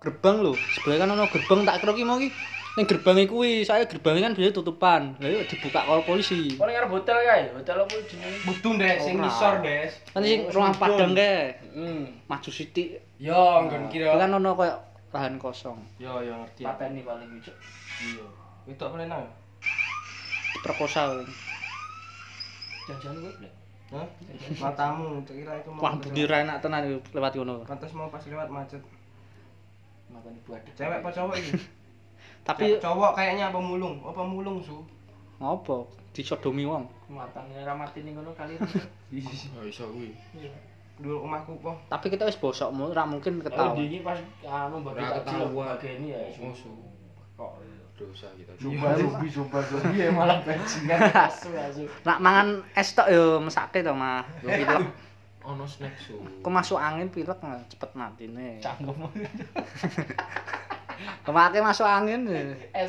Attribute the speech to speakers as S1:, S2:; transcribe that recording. S1: gerbang lho. Sebelah kan ono gerbang tak kira ki mau ki ning gerbang iku kuwi, soalnya gerbangnya kan biasanya tutupan. Lah iya dibuka karo polisi.
S2: Paling arep hotel kae, hotel apa jenenge?
S3: Mudun deh, sing
S1: Ora.
S3: ngisor des.
S1: Kan sing rumah padang kae,
S3: Hmm.
S1: maju sithik.
S3: Yo,
S1: Itu
S3: nggon kira.
S1: Kan ono koyo lahan kosong,
S3: Yo, yo ngerti. aku.
S2: Pateni paling lucu.
S3: Iya. Itu apa nang?
S1: perkosa. kuwi.
S2: Jangan-jangan gue blek.
S3: Hah? Matamu, tak kira itu mau.
S1: Wah, budi ra enak tenan iki lewat ngono.
S3: Pantes mau pas lewat macet.
S2: Makan ibu ada.
S3: Cewek apa cowok ini?
S1: Tapi
S3: Cewek- cowok kayaknya apa mulung? Apa mulung, Su?
S1: ngopo? Disodomi wong.
S2: Matangnya ramati ning ngono kali.
S4: Oh iso kuwi.
S2: Iya.
S3: Dulu omahku po.
S1: Tapi kita wis bosok, mu- ra mungkin
S2: Tahu
S1: ketawa.
S2: di ini pas anu bagi
S4: Ora
S2: takjil
S4: ketahuan.
S2: bagian ini ya.
S4: Oh su.
S2: Kok
S4: Dosa kita.
S2: Jumpa zombie, jumpa zombie ya malah bajingan asu asu.
S1: Nak mangan es tok yo mesake to mah. Yo pilek.
S4: Ono snack su.
S1: Kok masuk angin pilek nah, cepet matine.
S2: Canggung.
S1: Kemake masuk angin. ya.
S2: Es